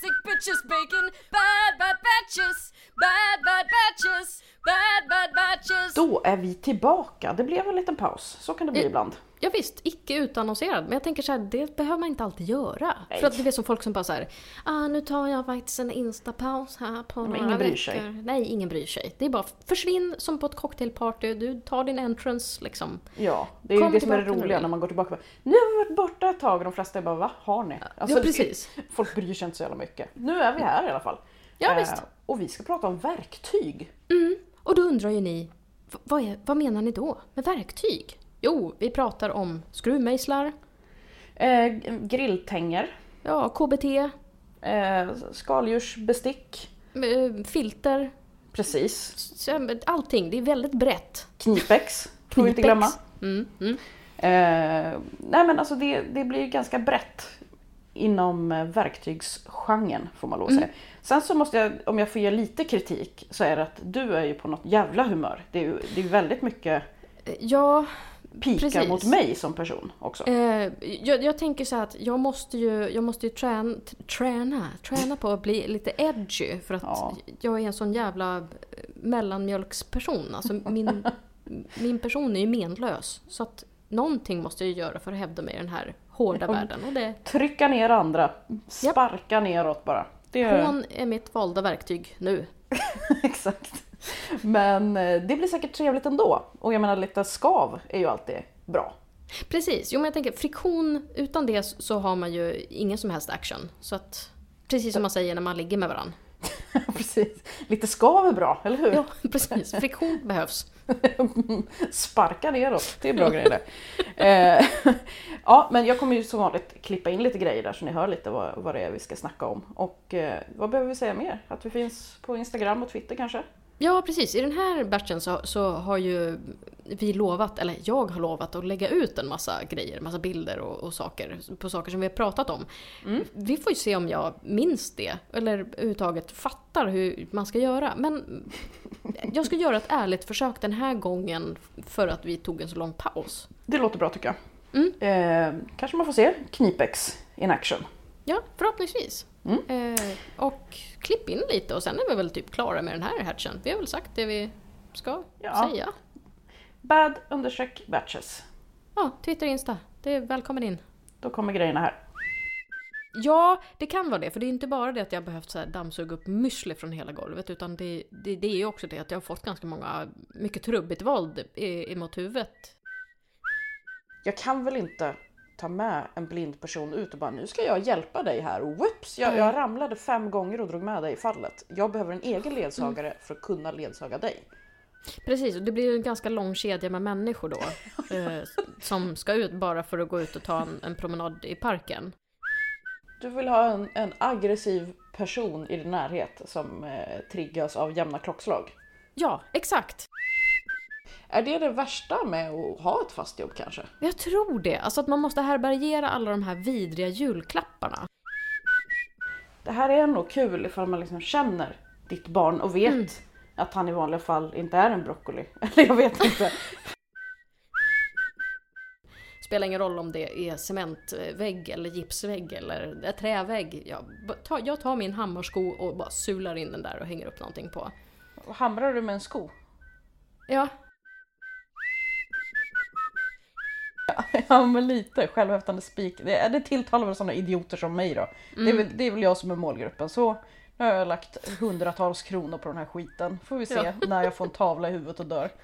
sandwiches, bacon, bad bad batches, bad bad batches, bad bad batches. Då är vi tillbaka. Det blev en liten paus. Så kan det bli Eh, ibland. Ja, visst, icke utannonserad. Men jag tänker så här, det behöver man inte alltid göra. Nej. För att det är som folk som bara så här, ah, nu tar jag faktiskt en instapaus här på några ingen bryr veckor. sig. Nej, ingen bryr sig. Det är bara försvinn som på ett cocktailparty. Du tar din entrance liksom. Ja, det är ju Kom det som är det tillbaka nu. roliga när man går tillbaka. Nu har vi varit borta ett tag och de flesta är bara va? Har ni? Alltså, ja, precis. Folk bryr sig inte så jävla mycket. Nu är vi här i alla fall. Ja, Eh, visst. Och vi ska prata om verktyg. Och då undrar ju ni, "V- vad, är, vad menar ni då med verktyg? Jo, vi pratar om skruvmejslar, Eh, grilltänger, ja, KBT, eh, skaldjursbestick, eh, filter, precis. s- s- allting. Det är väldigt brett. Knipex, får vi inte Knipex. glömma. Mm, mm. Eh, nej men alltså det, det blir ganska brett inom eh, verktygsgenren får man lov Mm. att säga. Sen så måste jag, om jag får ge lite kritik, så är det att du är ju på något jävla humör. Det är ju det är ju väldigt mycket Ja, pikar Precis. mot mig som person också. Eh, jag, jag tänker så här att jag måste ju, jag måste ju träna, träna, träna på att bli lite edgy. För att Ja. jag är en sån jävla eh, mellanmjölksperson. Alltså min, min person är ju menlös. Så att någonting måste jag ju göra för att hävda mig i den här hårda världen. Och det, Trycka ner andra, sparka neråt bara. Det är hån är mitt valda verktyg nu. exakt. Men eh, det blir säkert trevligt ändå. Och jag menar lite skav är ju alltid bra. Precis, jo men jag tänker friktion, utan det så har man ju ingen som helst action. Så att, precis som man säger när man ligger med varandra. precis. Lite skav är bra, eller hur? Ja, precis. Friktion behövs. Sparka neråt, det är bra grejer det. Eh, ja, men jag kommer ju som vanligt klippa in lite grejer där så ni hör lite vad, vad det är vi ska snacka om. Och eh, vad behöver vi säga mer? Att vi finns på Instagram och Twitter kanske? Ja, precis. I den här batchen så, så har ju vi lovat, eller jag har lovat att lägga ut en massa grejer, massa bilder och, och saker på saker som vi har pratat om. Vi får ju se om jag minns det, eller överhuvudtaget fattar hur man ska göra. Men jag ska göra ett ärligt försök den här gången för att vi tog en så lång paus. Det låter bra tycker jag. Eh, kanske man får se Knipex in action. Ja, förhoppningsvis. Eh, och klipp in lite och sen är vi väl typ klara med den här hatchen. Vi har väl sagt det vi ska Ja. säga. Bad undersök batches. Ja, Twitter och Insta. Det är välkommen in. Då kommer grejerna här. Ja, det kan vara det. För det är inte bara det att jag behövt så här dammsuga upp müsli från hela golvet. Utan det, det, det är ju också det att jag har fått ganska många, mycket trubbigt våld i- emot huvudet. Jag kan väl inte ta med en blind person ut och bara nu ska jag hjälpa dig här. Och whoops, jag, jag ramlade fem gånger och drog med dig i fallet. Jag behöver en egen ledsagare för att kunna ledsaga dig. Precis, och det blir ju en ganska lång kedja med människor då. eh, som ska ut bara för att gå ut och ta en, en promenad i parken. Du vill ha en, en aggressiv person i din närhet som eh, triggas av jämna klockslag. Ja, exakt! Är det det värsta med att ha ett fast jobb kanske? Jag tror det. Alltså att man måste härbärgera alla de här vidriga julklapparna. Det här är nog kul ifall man liksom känner ditt barn och vet att han i vanliga fall inte är en broccoli. Eller jag vet inte. Spelar ingen roll om det är cementvägg eller gipsvägg eller trävägg. Jag, b- ta- jag tar min hammarsko och bara sular in den där och hänger upp någonting på. Hamrar du med en sko? Ja, Ja men lite, självhäftande spik. Det, är- det tilltalar väl sådana idioter som mig då. Det, är väl, det är väl jag som är målgruppen. Så nu har jag lagt hundratals kronor på den här skiten. Får vi se när jag får en tavla i huvudet och dör.